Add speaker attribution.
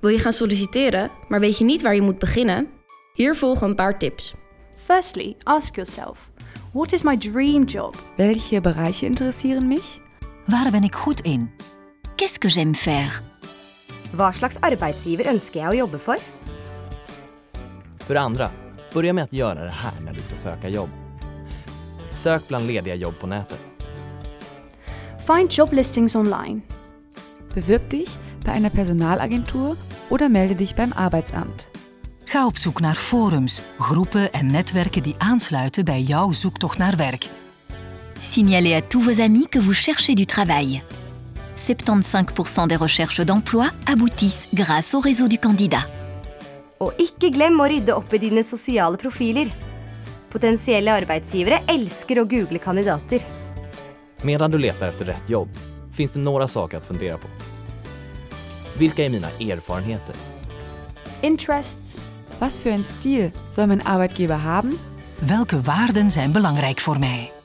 Speaker 1: Wil je gaan solliciteren, maar weet je niet waar je moet beginnen? Hier volgen een paar tips.
Speaker 2: Firstly, ask yourself, what is my dream job?
Speaker 3: Welche Bereiche interessieren mich?
Speaker 4: Waar ben ik goed in? Qu'est-ce que j'aime faire?
Speaker 5: Hva slags arbeidsgiver ønsker jeg å jobbe for?
Speaker 6: För det andra, börja med att göra det här när du ska söka jobb. Sök bland lediga jobb på nätet.
Speaker 2: Find job listings online.
Speaker 3: Bewirb dich bei einer Personalagentur oder melde dich beim Arbeitsamt.
Speaker 4: Ga op zoek naar forums, groepen en netwerken die aansluiten bij jouw zoektocht naar werk.
Speaker 7: Signalez à tous vos amis que vous cherchez du travail. 75% des recherches d'emploi aboutissent grâce au réseau du candidat.
Speaker 5: Og ikke glem å rydde opp i dine sosiale profiler. Potensielle arbeidsgivere elsker å google kandidater.
Speaker 6: Medan du letar efter rätt jobb finns det några saker att fundera på. Vilka är mina erfarenheter?
Speaker 2: Interests.
Speaker 3: Was für einen Stil soll mein Arbeitgeber haben?
Speaker 4: Welke waarden zijn belangrijk voor mij?